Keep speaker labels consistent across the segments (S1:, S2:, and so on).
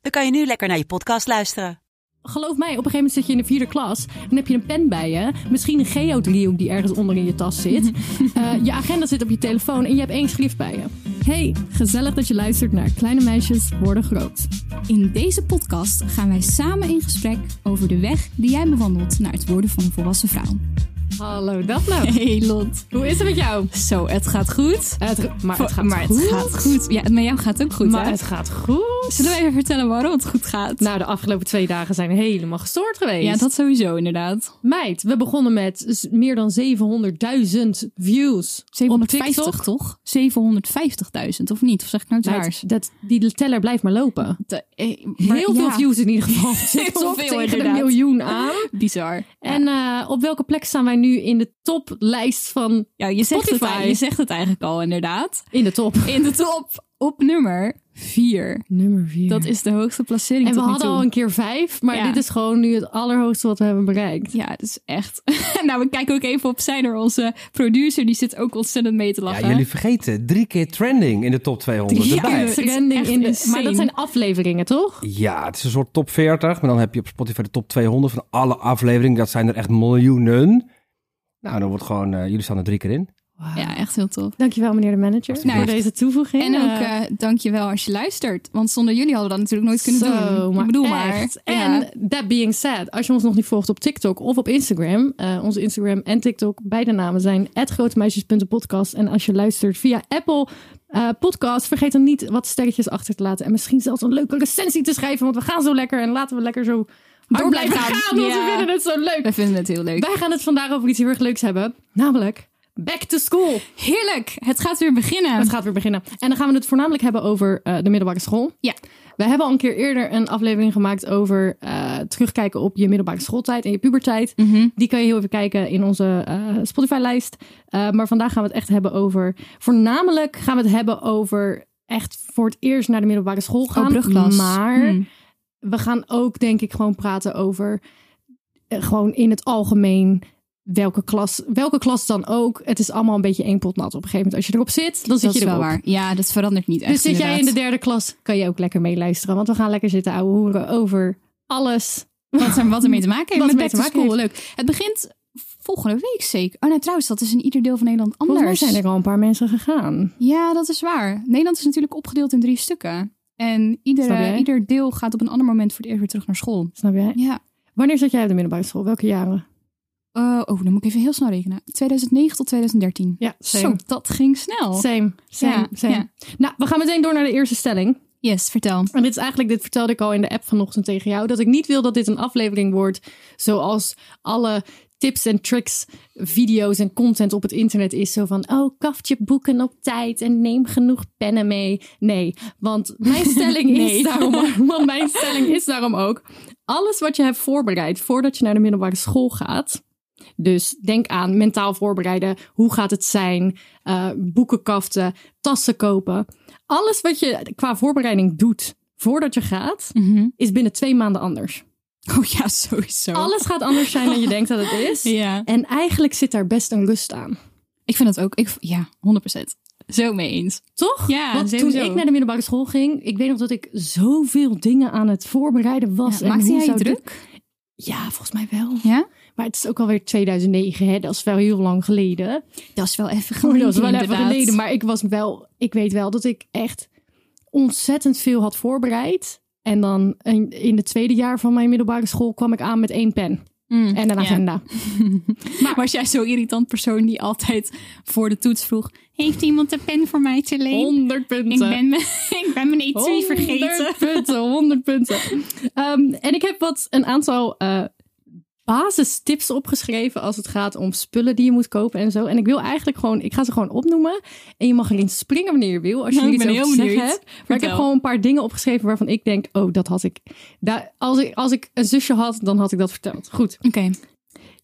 S1: dan kan je nu lekker naar je podcast luisteren.
S2: Geloof mij, op een gegeven moment zit je in de vierde klas. Dan heb je een pen bij je. Misschien een geodriehoek die ergens onder in je tas zit. Eh, je agenda zit op je telefoon en je hebt één schrift bij je.
S3: Hey, gezellig dat je luistert naar Kleine Meisjes Worden Groot. In deze podcast gaan wij samen in gesprek over de weg die jij bewandelt naar het worden van een volwassen vrouw.
S2: Hallo nou. Daphne.
S3: Hey Lot.
S2: Hoe is het met jou?
S3: Zo, het gaat goed.
S2: Eh, Het, maar het gaat
S3: Eh, maar
S2: goed.
S3: het gaat goed. Ja, met jou gaat het ook goed,
S2: maar
S3: hè?
S2: het gaat goed.
S3: Zullen we even vertellen waarom het goed gaat?
S2: Nou, de afgelopen twee dagen zijn we helemaal gestoord geweest.
S3: ja, dat sowieso inderdaad.
S2: Meid, we begonnen met s- meer dan 700.000 views. op
S3: 750
S2: TikTok.
S3: toch? 750.000, of niet? Of zeg ik nou het raars?
S2: Meid, dat, die teller blijft maar lopen.
S3: De- eh, maar-
S2: Heel veel
S3: ja,
S2: views in ieder geval. TikTok
S3: veel
S2: tegen
S3: inderdaad.
S2: de miljoen aan.
S3: Bizar.
S2: En eh, op welke plek staan wij nu in de toplijst van...
S3: Ja, je zegt, het,
S2: Spotify.
S3: al- je zegt het eigenlijk al inderdaad.
S2: In de top.
S3: In de top op nummer 4.
S2: Nummer 4.
S3: Dat is de hoogste placering
S2: en we
S3: tot nu
S2: hadden
S3: toe.
S2: al een keer vijf, maar
S3: Ja.
S2: dit is gewoon nu het allerhoogste wat we hebben bereikt.
S3: Ja, dat is echt... nou, we kijken ook even op Seiner, onze producer. Die zit ook ontzettend mee te lachen.
S4: Ja, jullie vergeten. Drie keer trending in de top 200.
S3: Drie
S4: erbij.
S3: keer. is
S2: Trending
S3: echt
S2: in de,
S3: insane.
S2: maar dat zijn afleveringen, toch?
S4: Ja, het is een soort top 40. Maar dan heb je op Spotify de top 200 van alle afleveringen. Dat zijn er echt miljoenen. Nou, dan wordt gewoon... eh, jullie staan er drie keer in.
S3: Ja, echt heel tof.
S2: Dankjewel, meneer de manager,
S4: Alsjeblieft.
S2: voor deze toevoeging.
S3: En ook
S2: Nou, Eh,
S3: eh dankjewel als je luistert. Want zonder jullie hadden we dat natuurlijk nooit kunnen
S2: Zo,
S3: doen.
S2: maar
S3: ik bedoel
S2: echt. En
S3: maar. Ja.
S2: that being said, als je ons nog niet volgt op TikTok of op Instagram, eh, onze Instagram en TikTok, beide namen zijn @grotemeisjes.podcast. En als je luistert via Apple eh, Podcast, vergeet dan niet wat sterretjes achter te laten en misschien zelfs een leuke recensie te schrijven, want we gaan zo lekker en laten we lekker zo door blijven gaan, want we
S3: Ja.
S2: vinden het zo leuk.
S3: We vinden het heel leuk.
S2: Wij gaan het vandaag over iets heel erg leuks hebben, namelijk back to school.
S3: Heerlijk! Het gaat weer beginnen.
S2: Het gaat weer beginnen. En dan gaan we het voornamelijk hebben over eh, de middelbare school.
S3: Ja.
S2: We hebben al een keer eerder een aflevering gemaakt over eh, terugkijken op je middelbare schooltijd en je pubertijd.
S3: Mhm.
S2: Die kan je heel even kijken in onze eh, Spotify-lijst. Eh, maar vandaag gaan we het echt hebben over. Voornamelijk gaan we het hebben over echt voor het eerst naar de middelbare school gaan.
S3: Oh, brugklas.
S2: Maar
S3: Hm.
S2: we gaan ook, denk ik, gewoon praten over. eh, gewoon in het algemeen. Welke klas, welke klas dan ook. Het is allemaal een beetje één pot nat op een gegeven moment. Als je erop zit, dan zit
S3: Dat
S2: je
S3: is wel
S2: erop.
S3: waar. Ja, dat verandert niet echt.
S2: Dus zit jij in de
S3: inderdaad.
S2: derde klas, kan je ook lekker meeluisteren. Want we gaan lekker zitten ouwe hoeren over alles.
S3: wat, er, wat ermee te maken heeft
S2: Wat
S3: met
S2: ermee
S3: Back
S2: te
S3: to
S2: maken
S3: School. Leuk. Het begint volgende week zeker. Oh, nou trouwens, dat is in ieder deel van Nederland
S2: Volgens mij
S3: anders.
S2: zijn er al een paar mensen gegaan.
S3: Ja, dat is waar. Nederland is natuurlijk opgedeeld in drie stukken. En
S2: Snap
S3: iedere,
S2: jij?
S3: ieder deel gaat op een ander moment voor het eerst weer terug naar school.
S2: Snap jij?
S3: Ja.
S2: Wanneer zat jij op de middelbare school? Welke jaren?
S3: Eh, oh, dan moet ik even heel snel rekenen. 2009 tot 2013.
S2: Ja,
S3: Zo,
S2: same.
S3: dat ging snel.
S2: Same, same,
S3: Ja,
S2: same.
S3: ja.
S2: Nou, we gaan meteen door naar de eerste stelling.
S3: Yes, vertel.
S2: En dit is eigenlijk, dit vertelde ik al in de app vanochtend tegen jou, dat ik niet wil dat dit een aflevering wordt zoals alle tips en tricks, video's en content op het internet is. Zo van, oh, kaft je boeken op tijd en neem genoeg pennen mee. Nee, want mijn stelling, is,
S3: Nee.
S2: daarom, want mijn stelling is daarom ook, alles wat je hebt voorbereid voordat je naar de middelbare school gaat, dus denk aan mentaal voorbereiden. Hoe gaat het zijn? eh, boekenkaften, tassen kopen. Alles wat je qua voorbereiding doet voordat je gaat,
S3: Mhm.
S2: is binnen twee maanden anders.
S3: Oh ja, sowieso.
S2: Alles gaat anders zijn dan je denkt dat het is.
S3: Ja.
S2: En eigenlijk zit daar best een rust aan.
S3: Ik vind dat ook. Ik, ja, 100%. Zo mee eens.
S2: Toch?
S3: Ja,
S2: Want toen
S3: sowieso.
S2: ik naar de middelbare school ging, ik weet nog dat ik zoveel dingen aan het voorbereiden was.
S3: Ja,
S2: en
S3: maakte
S2: hoe
S3: jij je
S2: zou dit-
S3: druk?
S2: Ja, volgens mij wel.
S3: Ja?
S2: Maar het is ook alweer 2009, hè? dat is wel heel lang geleden.
S3: Dat is wel even
S2: Oh,
S3: geleden.
S2: dat is wel even
S3: inderdaad.
S2: geleden, maar ik was wel, ik weet wel dat ik echt ontzettend veel had voorbereid. En dan in, in het tweede jaar van mijn middelbare school kwam ik aan met één pen
S3: Mm,
S2: en een
S3: ja.
S2: agenda.
S3: Maar was jij zo'n irritant persoon die altijd voor de toets vroeg... Heeft iemand de pen voor mij te leen?
S2: 100 punten.
S3: Ik ben, mijn- ik ben mijn etui
S2: 100
S3: vergeten.
S2: punten, 100 punten. Ehm, en ik heb wat een aantal eh, basistips opgeschreven als het gaat om spullen die je moet kopen en zo. En ik wil eigenlijk gewoon, ik ga ze gewoon opnoemen. En je mag erin springen wanneer je wil, als je
S3: Nou,
S2: er
S3: ik
S2: iets
S3: ben
S2: over
S3: heel
S2: te zeggen
S3: benieuwd.
S2: hebt. Maar ik heb
S3: Vertel.
S2: gewoon een paar dingen opgeschreven waarvan ik denk, oh, dat had ik. Daar, als ik. Als ik een zusje had, dan had ik dat verteld. Goed.
S3: Oké.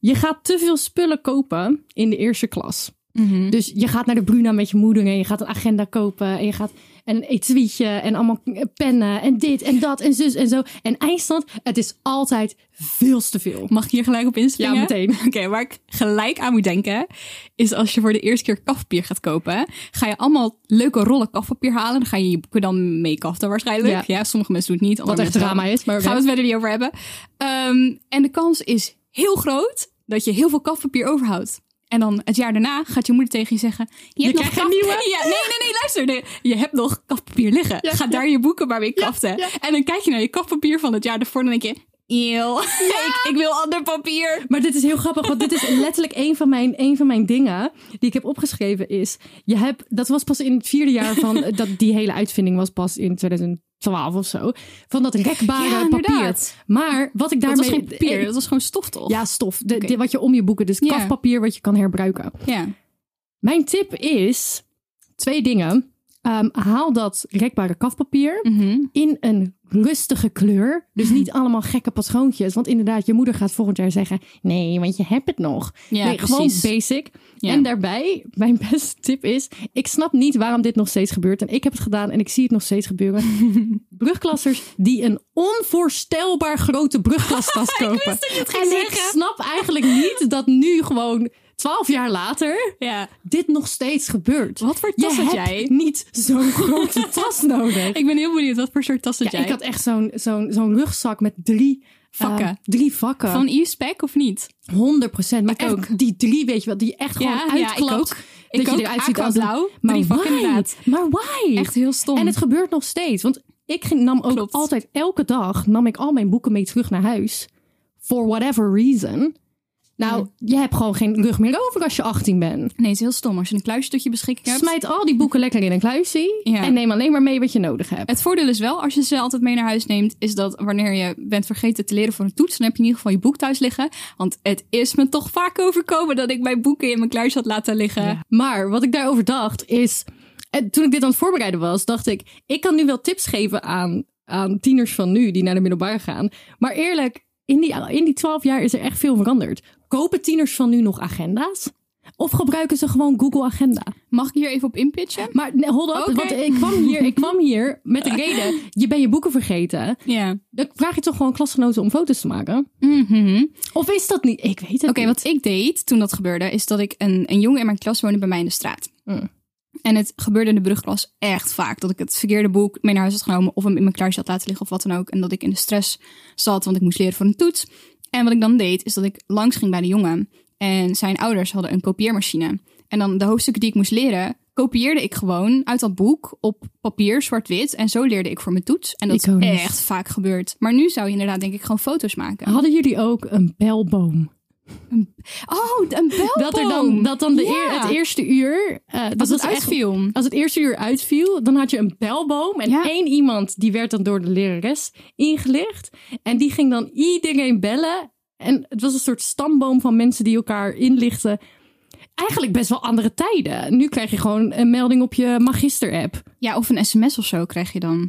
S2: Je gaat te veel spullen kopen in de eerste klas.
S3: Mhm.
S2: Dus je gaat naar de Bruna met je moeder en je gaat een agenda kopen en je gaat een etuietje en allemaal pennen en dit en dat en zus en zo. En eindstand, het is altijd veel te veel.
S3: Mag ik hier gelijk op inspringen?
S2: Ja, meteen.
S3: Oké, waar ik gelijk aan moet denken, is als je voor de eerste keer kafpapier gaat kopen, ga je allemaal leuke rollen kafpapier halen. Dan ga je je boeken dan mee kaften waarschijnlijk.
S2: Ja.
S3: Ja. sommige mensen doen het niet. andere
S2: echt
S3: mensen
S2: drama
S3: wel.
S2: is, maar oké.
S3: Gaan we het verder niet over hebben. Ehm, en de kans is heel groot dat je heel veel kafpapier overhoudt. En dan het jaar daarna gaat je moeder tegen je zeggen... Je, hebt nog
S2: krijgt een
S3: kaf-
S2: nieuwe.
S3: Ja, nee, nee, nee, luister. nee. je hebt nog kafpapier liggen.
S2: Ja,
S3: ga
S2: ja.
S3: daar je boeken maar mee kaften.
S2: ja.
S3: En dan kijk je naar je kafpapier van het jaar daarvoor en dan denk je... Eeuw, ik, ik wil ander papier.
S2: Maar dit is heel grappig, want dit is letterlijk een van, mijn, een van mijn dingen die ik heb opgeschreven is. Je hebt, dat was pas in het vierde jaar van, dat die hele uitvinding was pas in 2012 of zo. Van dat rekbare
S3: Ja, eh,
S2: papier.
S3: inderdaad.
S2: Maar wat ik
S3: Dat
S2: daarmee...
S3: was geen papier, dat was gewoon stof toch?
S2: Ja, stof. De,
S3: Oké.
S2: de- wat je om je boeken, dus
S3: Ja.
S2: kafpapier wat je kan herbruiken.
S3: Ja.
S2: Mijn tip is twee dingen. Ehm, haal dat rekbare kafpapier
S3: Mhm.
S2: in een rustige kleur. Dus niet allemaal gekke patroontjes. Want inderdaad, je moeder gaat volgend jaar zeggen... nee, want je hebt het nog.
S3: Ja,
S2: nee, gewoon
S3: precies.
S2: basic.
S3: Ja.
S2: En daarbij, mijn beste tip is... ik snap niet waarom dit nog steeds gebeurt. En ik heb het gedaan en ik zie het nog steeds gebeuren. Brugklassers die een onvoorstelbaar grote brugklastas kopen.
S3: dat je het ging
S2: en ik
S3: zeggen.
S2: snap eigenlijk niet dat nu gewoon... Twaalf jaar later,
S3: ja.
S2: dit nog steeds gebeurt.
S3: Wat voor tas
S2: je
S3: had
S2: hebt
S3: jij?
S2: niet zo'n grote tas nodig.
S3: Ik ben heel benieuwd wat voor soort tas had
S2: Ja,
S3: jij?
S2: ik had echt zo'n zo'n zo'n rugzak met drie
S3: Vakken.
S2: ehm, drie vakken.
S3: Van e-spec of niet?
S2: 100 procent. Maar
S3: Ik
S2: echt
S3: ook.
S2: die drie, weet je wel, die je echt gewoon
S3: Ja, ja, ik
S2: uitkloopt.
S3: ook. Ik
S2: dat
S3: ook.
S2: je eruit ziet als een-
S3: Aquablauw.
S2: Maar
S3: Drie vakken
S2: why?
S3: inderdaad.
S2: Maar why?
S3: Echt heel stom.
S2: En het gebeurt nog steeds. Want ik ging- nam ook
S3: Klopt.
S2: altijd elke dag nam ik al mijn boeken mee terug naar huis. For whatever reason. Nou, je hebt gewoon geen rug meer over als je 18 bent.
S3: Nee, het is heel stom. Als je een kluisje tot je beschikking hebt.
S2: Smijt al die boeken lekker in een kluisje.
S3: Ja.
S2: En neem alleen maar mee wat je nodig hebt.
S3: Het voordeel is wel, als je ze altijd mee naar huis neemt, is dat wanneer je bent vergeten te leren voor een toets, dan heb je in ieder geval je boek thuis liggen. Want het is me toch vaak overkomen dat ik mijn boeken in mijn kluis had laten liggen.
S2: Maar wat ik daarover dacht is. En toen ik dit aan het voorbereiden was, dacht ik. Ik kan nu wel tips geven aan, aan tieners van nu die naar de middelbare gaan. Maar eerlijk, in die, in die 12 jaar is er echt veel veranderd. Kopen tieners van nu nog agenda's? Of gebruiken ze gewoon Google Agenda?
S3: Mag ik hier even op inpitchen?
S2: Maar nee, hold up,
S3: Oké.
S2: want ik kwam, hier, ik kwam hier met de reden. Je bent je boeken vergeten.
S3: Ja.
S2: Dan vraag je toch gewoon klasgenoten om foto's te maken?
S3: Mhm.
S2: Of is dat niet? Ik weet het
S3: Oké,
S2: niet.
S3: wat ik deed toen dat gebeurde, is dat ik een, een jongen in mijn klas woonde bij mij in de straat.
S2: Mm.
S3: En het gebeurde in de brugklas echt vaak. Dat ik het verkeerde boek mee naar huis had genomen. Of hem in mijn kluisje had laten liggen of wat dan ook. En dat ik in de stress zat, want ik moest leren voor een toets. En wat ik dan deed, is dat ik langs ging bij de jongen. En zijn ouders hadden een kopieermachine. En dan de hoofdstukken die ik moest leren, kopieerde ik gewoon uit dat boek op papier, zwart-wit. En zo leerde ik voor mijn toets. En dat
S2: Iconisch. Oh.
S3: is echt vaak gebeurd. Maar nu zou je inderdaad denk ik gewoon foto's maken.
S2: Hadden jullie ook een belboom?
S3: Oh, een belboom!
S2: Dat, er dan, dat dan de
S3: Ja.
S2: eer- het eerste uur. eh, dat
S3: Als het
S2: was echt-
S3: uitviel.
S2: als het eerste uur uitviel, dan had je een belboom. En
S3: Ja.
S2: één iemand die werd dan door de lerares ingelicht. En die ging dan iedereen bellen. En het was een soort stamboom van mensen die elkaar inlichten. Eigenlijk best wel andere tijden. Nu krijg je gewoon een melding op je magister-app.
S3: Ja, of een sms of zo krijg je dan.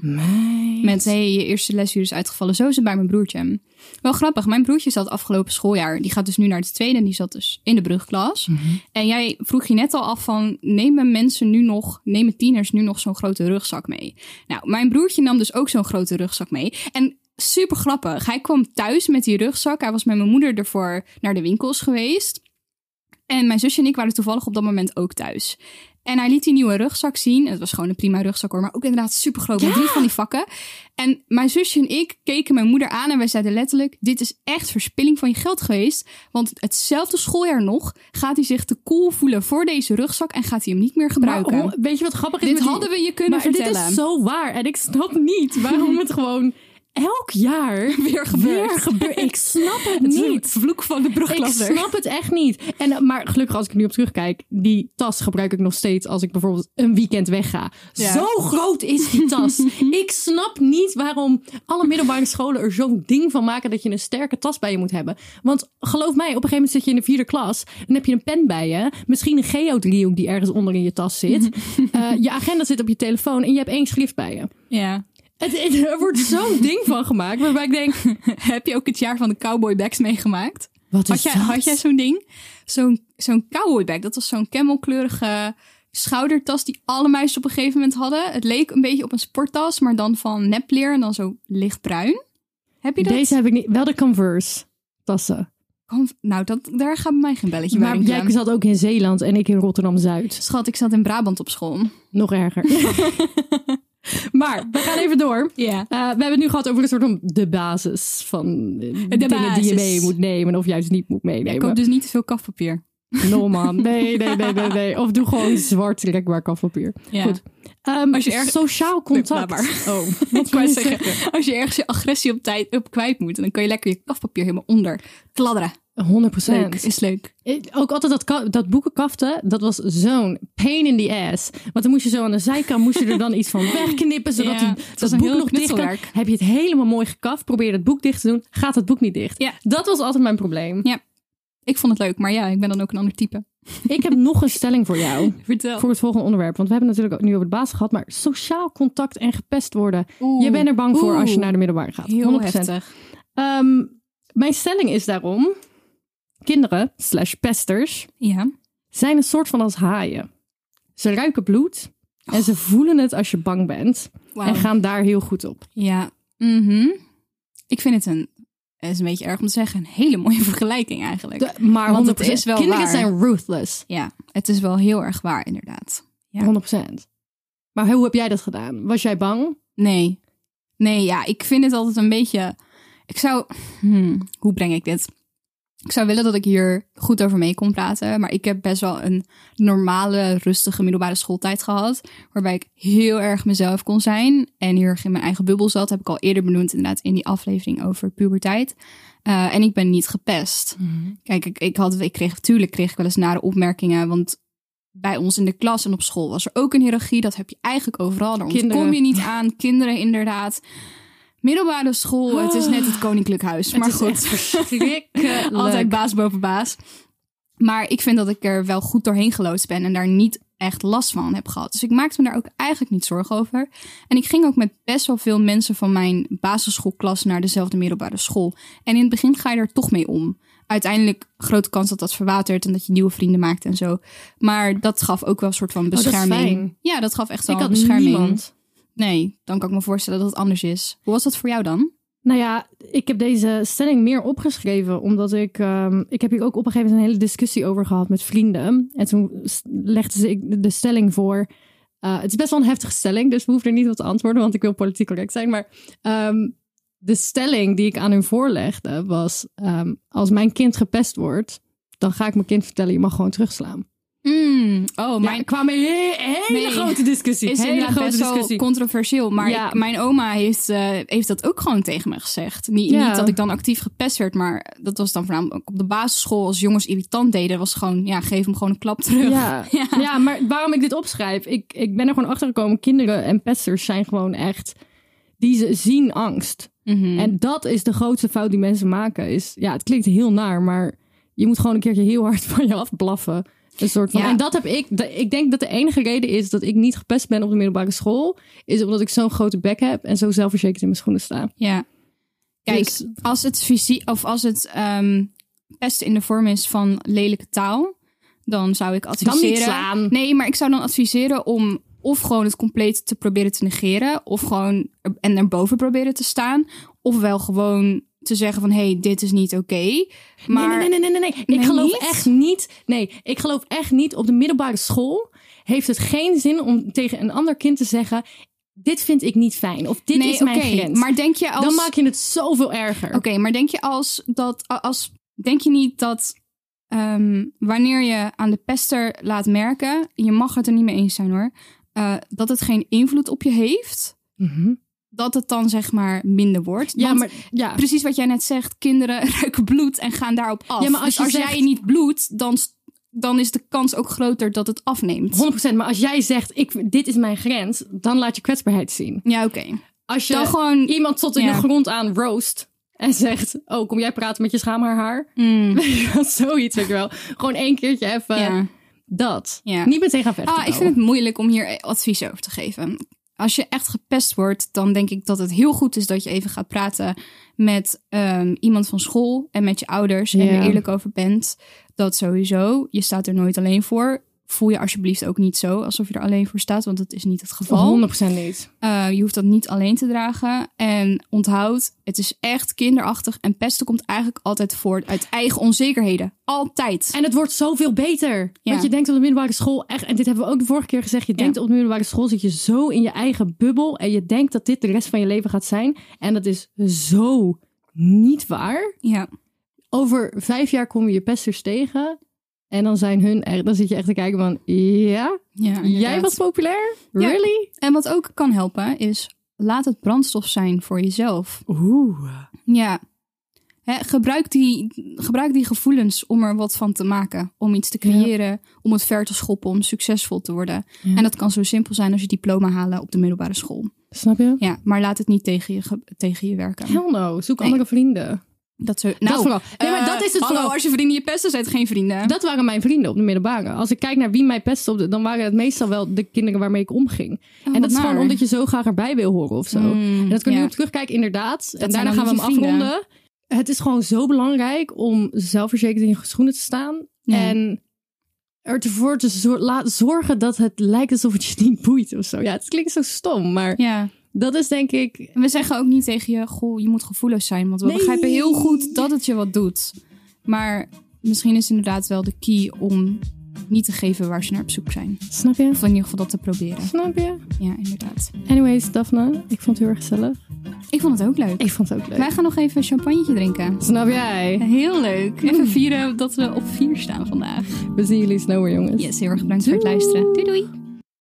S3: Met, hé, hey, je eerste lesuur is uitgevallen. Zo is het bij mijn broertje. Wel grappig, mijn broertje zat afgelopen schooljaar. Die gaat dus nu naar de tweede en die zat dus in de brugklas.
S2: Mhm.
S3: En jij vroeg je net al af van, nemen mensen nu nog, nemen tieners nu nog zo'n grote rugzak mee? Nou, mijn broertje nam dus ook zo'n grote rugzak mee. En super grappig, hij kwam thuis met die rugzak. Hij was met mijn moeder ervoor naar de winkels geweest. En mijn zusje en ik waren toevallig op dat moment ook thuis. En hij liet die nieuwe rugzak zien. Het was gewoon een prima rugzak hoor, maar ook inderdaad super groot. Met drie van die vakken. En mijn zusje en ik keken mijn moeder aan en wij zeiden letterlijk: Dit is echt verspilling van je geld geweest. Want hetzelfde schooljaar nog gaat hij zich te cool voelen voor deze rugzak en gaat hij hem niet meer gebruiken.
S2: Maar hoe- weet je wat grappig is?
S3: Dit
S2: met die-
S3: hadden we je kunnen
S2: maar
S3: vertellen.
S2: Dit is zo waar. En ik snap niet waarom het gewoon elk jaar weer
S3: gebeurt.
S2: Weer gebeurt. Ik snap het
S3: Het is een
S2: niet.
S3: vloek van de
S2: Ik
S3: brugklasser.
S2: snap het echt niet. En, eh, maar gelukkig als ik er nu op terugkijk, die tas gebruik ik nog steeds als ik bijvoorbeeld een weekend wegga.
S3: Ja.
S2: Zo groot is die tas. ik snap niet waarom alle middelbare scholen er zo'n ding van maken dat je een sterke tas bij je moet hebben. Want geloof mij, op een gegeven moment zit je in de vierde klas en heb je een pen bij je. Misschien een geodriehoek die ergens onder in je tas zit. Eh, je agenda zit op je telefoon en je hebt één schrift bij je.
S3: Ja.
S2: Het, het- er wordt zo'n ding van gemaakt waarbij ik denk,
S3: Heb je ook het jaar van de cowboy bags meegemaakt?
S2: wat
S3: Had
S2: is
S3: jij,
S2: dat?
S3: had jij zo'n ding? Zo'n zo'n cowboy bag. Dat was zo'n camelkleurige schoudertas die alle meisjes op een gegeven moment hadden. Het leek een beetje op een sporttas, maar dan van nepleer en dan zo lichtbruin. Heb je dat?
S2: Deze heb ik niet. Wel de Converse tassen.
S3: Kom- Nou, dat, daar gaat bij mij geen belletje
S2: Maar
S3: bij.
S2: jij
S3: rinkelen.
S2: zat ook in Zeeland en ik in Rotterdam-Zuid.
S3: Schat, ik zat in Brabant op school.
S2: Nog erger. maar we gaan even door.
S3: Ja.
S2: Eh, we hebben het nu gehad over een soort van de basis van eh, dingen die
S3: basis.
S2: je mee moet nemen of juist niet moet
S3: Ik
S2: meenemen.
S3: koop dus niet te veel kafpapier.
S2: No man, nee, nee, nee, nee, nee. Of doe gewoon zwart rekbaar kafpapier.
S3: Ja.
S2: Goed. Ehm,
S3: Als je erg-
S2: Sociaal contact.
S3: Nee, laat
S2: oh,
S3: Wat
S2: wat
S3: kan
S2: wou
S3: je
S2: je
S3: zeggen? Als je ergens je agressie op tijd op kwijt moet, dan kan je lekker je kafpapier helemaal onder kladderen.
S2: zeggen? 100%.
S3: Leuk, is leuk.
S2: Ik- Ook altijd dat, ka- dat boekenkaften, dat was zo'n pain in the ass. Want dan moest je zo aan de zijkant, moest je er dan iets van wegknippen, zodat
S3: Ja,
S2: die,
S3: het was
S2: dat
S3: een
S2: boek
S3: heel
S2: nog dicht kan.
S3: knutselwerk.
S2: Heb je het helemaal mooi gekaft, probeer het boek dicht te doen, gaat het boek niet dicht.
S3: Ja.
S2: Dat was altijd mijn probleem.
S3: Ik vond het leuk, maar ja, ik ben dan ook een ander type.
S2: Ik heb nog een stelling voor jou,
S3: Vertel.
S2: voor het volgende onderwerp. Want we hebben natuurlijk ook nu over het baas gehad, maar sociaal contact en gepest worden.
S3: Oeh.
S2: Je bent er bang voor als je
S3: Oeh.
S2: naar de middelbare gaat.
S3: Heel
S2: 100%.
S3: heftig.
S2: Ehm, mijn stelling is daarom, kinderen slash pesters
S3: Ja.
S2: zijn een soort van als haaien. Ze ruiken bloed en
S3: Oh.
S2: ze voelen het als je bang bent en gaan daar heel goed op.
S3: Ja. Mhm. Ik vind het een, het is een beetje erg om te zeggen, een hele mooie vergelijking eigenlijk.
S2: De- maar
S3: Want
S2: 100%.
S3: het is wel
S2: Kinderen
S3: waar.
S2: zijn ruthless.
S3: Ja, het is wel heel erg waar inderdaad. Ja.
S2: 100%. Maar hoe heb jij dat gedaan? Was jij bang?
S3: Nee. Nee, ja, ik vind het altijd een beetje. Ik zou. Hmm, hoe breng ik dit? Ik zou willen dat ik hier goed over mee kon praten. Maar ik heb best wel een normale, rustige middelbare schooltijd gehad. Waarbij ik heel erg mezelf kon zijn. En heel erg in mijn eigen bubbel zat. Heb ik al eerder benoemd, inderdaad, in die aflevering over puberteit. Eh, en ik ben niet gepest. Kijk, ik, ik, had, ik kreeg, tuurlijk kreeg ik wel eens nare opmerkingen. Want bij ons in de klas en op school was er ook een hiërarchie. Dat heb je eigenlijk overal. Daar
S2: Kinderen.
S3: ontkom je niet aan. Kinderen inderdaad. Middelbare school, het is net Ah, het koninklijk huis. Maar
S2: is echt
S3: goed,
S2: verschrikkelijk.
S3: altijd baas boven baas. Maar ik vind dat ik er wel goed doorheen geloodst ben en daar niet echt last van heb gehad. Dus ik maakte me daar ook eigenlijk niet zorgen over. En ik ging ook met best wel veel mensen van mijn basisschoolklas naar dezelfde middelbare school. En in het begin ga je er toch mee om. Uiteindelijk grote kans dat dat verwatert en dat je nieuwe vrienden maakt en zo. Maar dat gaf ook wel een soort van
S2: Oh, dat is
S3: bescherming.
S2: fijn.
S3: Ja, dat gaf echt wel
S2: Ik had
S3: bescherming.
S2: niemand.
S3: Nee, dan kan ik me voorstellen dat het anders is. Hoe was dat voor jou dan?
S2: Nou ja, ik heb deze stelling meer opgeschreven omdat ik. ehm, ik heb hier ook op een gegeven moment een hele discussie over gehad met vrienden. En toen s- legde ze ik de stelling voor. eh, het is best wel een heftige stelling, dus we hoeven er niet op te antwoorden, want ik wil politiek correct zijn. Maar ehm, de stelling die ik aan hun voorlegde was: ehm, als mijn kind gepest wordt, dan ga ik mijn kind vertellen: je mag gewoon terugslaan.
S3: oh,
S2: Maar
S3: mijn,
S2: er kwam een he- hele
S3: Nee.
S2: grote discussie.
S3: is
S2: hele
S3: inderdaad
S2: grote
S3: best wel
S2: discussie.
S3: controversieel. Maar
S2: Ja.
S3: ik- mijn oma heeft, eh, heeft dat ook gewoon tegen me gezegd. Niet,
S2: Ja.
S3: niet dat ik dan actief gepest werd, maar dat was dan voornamelijk ook op de basisschool. Als jongens irritant deden, was gewoon, ja, geef hem gewoon een klap terug.
S2: Ja. Ja. maar waarom ik dit opschrijf? Ik, ik ben er gewoon achter gekomen. Kinderen en pesters zijn gewoon echt. Die ze zien angst.
S3: Mhm.
S2: En dat is de grootste fout die mensen maken. Is, ja, het klinkt heel naar, maar je moet gewoon een keertje heel hard van je afblaffen. Een soort van.
S3: Ja.
S2: En dat heb ik. de- Ik denk dat de enige reden is dat ik niet gepest ben op de middelbare school. Is omdat ik zo'n grote bek heb en zo zelfverzekerd in mijn schoenen sta.
S3: Ja. Kijk,
S2: Dus-
S3: als het fysiek of als het ehm pesten in de vorm is van lelijke taal, dan zou ik adviseren.
S2: slaan.
S3: Nee, maar ik zou dan adviseren om of gewoon het compleet te proberen te negeren, of gewoon er- en erboven proberen te staan, ofwel gewoon te zeggen van hé, hey, dit is niet oké. Maar
S2: Nee, nee, nee, nee, nee, nee. Ik
S3: Nee,
S2: geloof
S3: niet?
S2: echt niet. Nee, ik geloof echt niet. Op de middelbare school heeft het geen zin om tegen een ander kind te zeggen: Dit vind ik niet fijn. Of dit
S3: Nee,
S2: is mijn
S3: oké,
S2: grens.
S3: Maar denk je als
S2: Dan maak je het zoveel erger.
S3: Oké, maar denk je als dat als denk je niet dat ehm, wanneer je aan de pester laat merken, je mag het er niet mee eens zijn hoor, eh, dat het geen invloed op je heeft?
S2: Mhm.
S3: dat het dan zeg maar minder wordt.
S2: Ja,
S3: Want
S2: maar ja.
S3: precies wat jij net zegt, kinderen ruiken bloed en gaan daarop af.
S2: Ja, maar als
S3: Dus
S2: je zegt-
S3: jij niet bloedt, dan, s- dan is de kans ook groter dat het afneemt.
S2: 100%. Maar als jij zegt, ik, dit is mijn grens, dan laat je kwetsbaarheid zien.
S3: Ja, oké.
S2: Als je
S3: Dan gewoon-
S2: iemand tot in
S3: ja.
S2: de grond aan roast en zegt, oh, kom jij praten met je schaamhaarhaar?
S3: Mm,
S2: Zoiets, weet je wel. Gewoon één keertje even
S3: ja.
S2: dat.
S3: Ja.
S2: Niet meteen gaan vechten.
S3: Ah, ik vind het moeilijk om hier advies over te geven. Als je echt gepest wordt, dan denk ik dat het heel goed is dat je even gaat praten met ehm, iemand van school en met je ouders en
S2: Ja.
S3: er eerlijk over bent. Dat sowieso, je staat er nooit alleen voor. Voel je alsjeblieft ook niet zo alsof je er alleen voor staat, want dat is niet het geval.
S2: het 100% niet.
S3: Eh, je hoeft dat niet alleen te dragen. En onthoud, het is echt kinderachtig. En pesten komt eigenlijk altijd voort uit eigen onzekerheden. Altijd.
S2: En het wordt zoveel beter.
S3: Ja.
S2: Want je denkt op de middelbare school echt, en dit hebben we ook de vorige keer gezegd, je denkt op de middelbare school zit je zo in je eigen bubbel en je denkt dat dit de rest van je leven gaat zijn. En dat is zo niet waar.
S3: Ja,
S2: Over vijf jaar kom je je pesters tegen en dan zijn hun er, dan zit je echt te kijken van, ja,
S3: ja
S2: jij
S3: inderdaad.
S2: was populair?
S3: Ja.
S2: Really?
S3: En wat ook kan helpen is, laat het brandstof zijn voor jezelf.
S2: Oeh.
S3: Ja. Hè, gebruik, die, gebruik die gevoelens om er wat van te maken. Om iets te creëren, om het ver te schoppen, om succesvol te worden.
S2: Ja.
S3: En dat kan zo simpel zijn als je diploma halen op de middelbare school.
S2: Snap je?
S3: Ja, maar laat het niet tegen je, ge- tegen je werken.
S2: Hell no, zoek
S3: Nee.
S2: andere vrienden.
S3: Dat zo,
S2: dat vooral. Nee, maar
S3: eh,
S2: dat is het
S3: hallo,
S2: vooral.
S3: als je vrienden je pesten, zijn het geen vrienden.
S2: Dat waren mijn vrienden op de middelbare. Als ik kijk naar wie mij pestte, op de- dan waren het meestal wel de kinderen waarmee ik omging. en dat is gewoon omdat je zo graag erbij wil horen of zo.
S3: Oh, Mm,
S2: en dat kun je
S3: ja.
S2: nu op terugkijken, inderdaad. en
S3: zijn
S2: daarna
S3: dan
S2: gaan we hem
S3: niet je vrienden.
S2: afronden. Het is gewoon zo belangrijk om zelfverzekerd in je schoenen te staan.
S3: Ja.
S2: En ervoor te zor- laten zorgen dat het lijkt alsof het je niet boeit of zo. Ja, het klinkt zo stom, maar
S3: Ja.
S2: dat is denk ik...
S3: En we zeggen ook niet tegen je, goh, je moet gevoelloos zijn. Want we
S2: Nee.
S3: begrijpen heel goed dat het je wat doet. Maar misschien is inderdaad wel de key om niet te geven waar ze naar op zoek zijn.
S2: Snap je?
S3: Of in ieder geval dat te proberen.
S2: Snap je?
S3: Ja, inderdaad.
S2: Anyways, Daphne, ik vond het heel erg gezellig.
S3: Ik vond het ook leuk.
S2: Ik vond het ook leuk.
S3: Wij gaan nog even een champagnetje drinken.
S2: Snap jij?
S3: Heel leuk. Even vieren dat we op vier staan vandaag.
S2: We zien jullie snel weer, jongens.
S3: Yes, heel erg bedankt voor het luisteren. Doei doei.